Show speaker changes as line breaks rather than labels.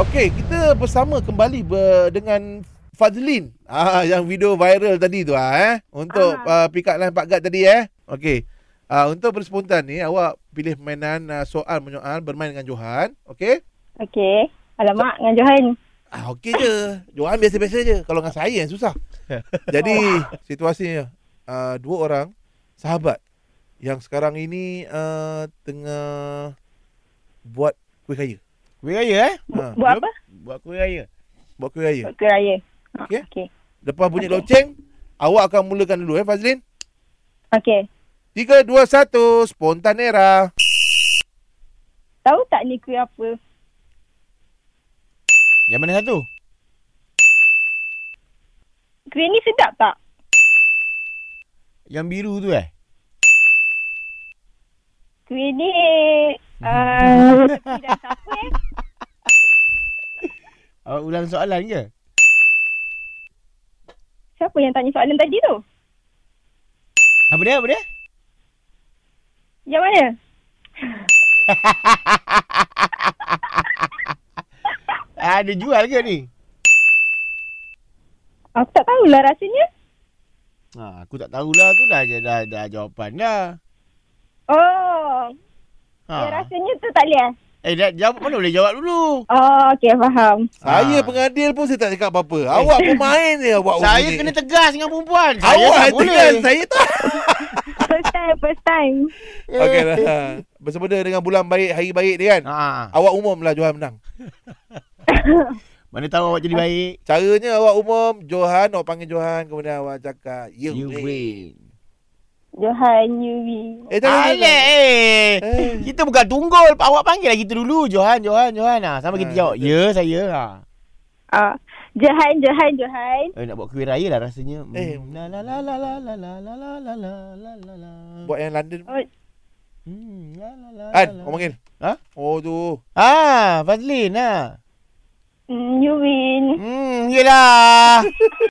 Okey, kita bersama kembali ber, dengan Fazlin. Ah yang video viral tadi tu ah eh untuk ah. Uh, pick up line Pak Gad tadi eh. Okey. Ah uh, untuk berspontan ni awak pilih mainan uh, soal menyoal bermain dengan Johan, okey?
Okey. Alamak, dengan Johan.
Ah okey je. Johan biasa-biasa je. Kalau dengan saya yang susah. Jadi situasinya uh, dua orang sahabat yang sekarang ini uh, tengah buat kuih raya.
Kuih raya eh?
Ha,
Buat apa?
Buat kuih raya.
buat kuih raya.
Buat kuih raya. Ha,
Okey.
Okey.
Lepas bunyi
Okey.
loceng, awak akan mulakan dulu eh Fazlin.
Okey.
3 2 1 spontan era.
Tahu tak ni kuih apa?
Yang mana satu?
Kuih ni sedap tak?
Yang biru tu eh?
Kuih ni... Uh, dah siapa eh?
Awak ulang soalan ke?
Siapa yang tanya soalan tadi tu?
Apa dia? Apa dia?
Yang mana?
Ah, dia jual ke ni?
Aku tak tahulah rasanya.
Ha, aku tak tahulah tu dah dah, dah, dah jawapan dah.
Oh,
Ha.
yang rasanya tu tak boleh eh?
Eh, dah, jawab mana boleh jawab dulu?
Oh, okey faham.
Saya
Ah.
pengadil pun saya tak cakap apa-apa. Awak pemain je awak.
saya
bunyi.
kena tegas dengan perempuan. Saya
awak
tak boleh.
tekan saya tak.
First time, first time.
Okey lah. Bersempena dengan bulan baik, hari baik dia kan.
Ha.
Awak umum lah Johan menang.
Mana tahu awak jadi baik.
Caranya awak umum Johan, awak panggil Johan kemudian awak cakap you,
You
win.
win.
Johan, Yuri.
Eh tak tak.
Alah, eh.
Eh.
Kita bukan tunggul. Awak panggil lah kita dulu. Johan, Johan, Johan. Ha, sama kita
Ah,
jawab.
betul.
Ya, saya. Ha.
Ah, Johan, Johan, Johan.
Eh, nak buat kuih raya lah rasanya. Hmm.
Eh.
La la la la la la la la la la la la la la.
Buat yang London.
Hmm, la la la.
An,
la, la.
kau panggil.
Ha?
Oh tu.
Ah, Fazlin ah.
Mm, you win.
Hmm, yelah.